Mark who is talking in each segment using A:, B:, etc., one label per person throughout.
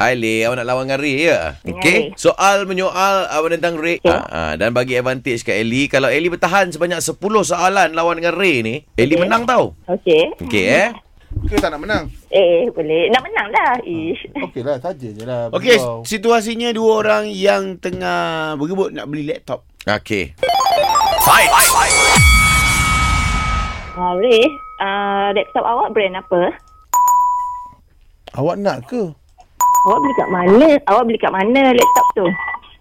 A: Hailey, awak nak lawan dengan Ray ya? Okey. Soal menyoal awak tentang Ray.
B: Okey.
A: Ah, ah, dan bagi advantage kat Ellie. Kalau Ellie bertahan sebanyak 10 soalan lawan dengan Ray ni, Ellie
B: Okey.
A: menang tau.
B: Okey.
A: Okey eh.
C: Ke tak nak menang?
B: Eh, boleh. Nak menang lah. Ish.
C: Okey lah, saja je lah.
D: Okey,
C: Wow.
D: situasinya dua orang yang tengah berebut nak beli laptop.
A: Okey.
B: Ah, Ray, ah, laptop awak brand apa?
C: Awak nak ke?
B: Awak beli kat mana? Awak beli kat mana laptop tu?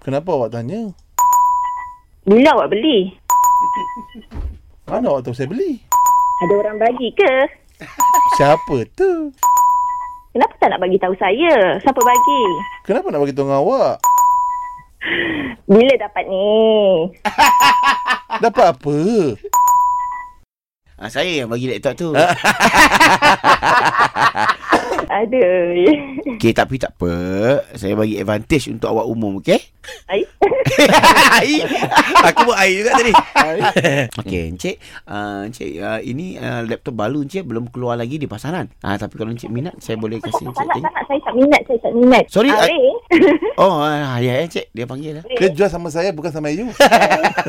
C: Kenapa awak tanya?
B: Bila awak beli?
C: Mana awak tahu saya beli?
B: Ada orang bagi ke?
C: Siapa tu?
B: Kenapa tak nak bagi tahu saya? Siapa bagi?
C: Kenapa nak bagi tahu dengan awak?
B: Bila dapat ni?
C: Dapat apa?
D: Ah, saya yang bagi laptop tu.
B: Aduh.
D: Okey, tapi tak apa. Saya bagi advantage untuk awak umum, okey?
B: Ai.
D: Hai.
A: Aku buat air juga tadi.
D: Okey, Encik. Uh, Encik, uh, ini uh, laptop baru Encik. Belum keluar lagi di pasaran. Ah, tapi kalau Encik minat, saya boleh kasih
B: tak
D: Encik.
B: nak, tak
D: tengok.
B: nak. Saya tak minat. Saya tak minat.
D: Sorry,
B: Ah,
D: I-
B: Ray.
D: Oh, ah, ya, Encik. Dia panggil lah.
C: Dia jual sama saya bukan sama you.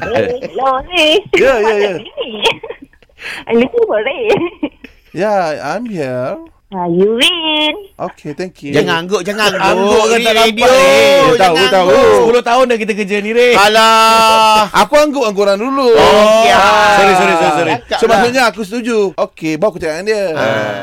B: Ray. Hello, Ray.
C: Ya, ya, ya.
B: I'm looking for Ray.
C: yeah, Ya, I'm here.
B: Ah, you win.
C: Okay, thank you.
D: Jangan angguk, jangan
A: Angguk
D: angguk.
A: kan
D: Ni
A: tak
D: radio.
A: nampak, eh.
C: Dia tahu,
D: jangan
C: tahu.
D: angguk.
A: 10 tahun dah kita kerja ni
C: Ah,
A: Ray.
D: Alah.
C: Aku angguk dengan korang dulu.
D: Oh, ya.
A: Sorry, sorry, sorry, sorry.
D: Cakap
C: So
D: lah. Ah.
C: maksudnya aku setuju. Okey, baru aku cakap dengan dia.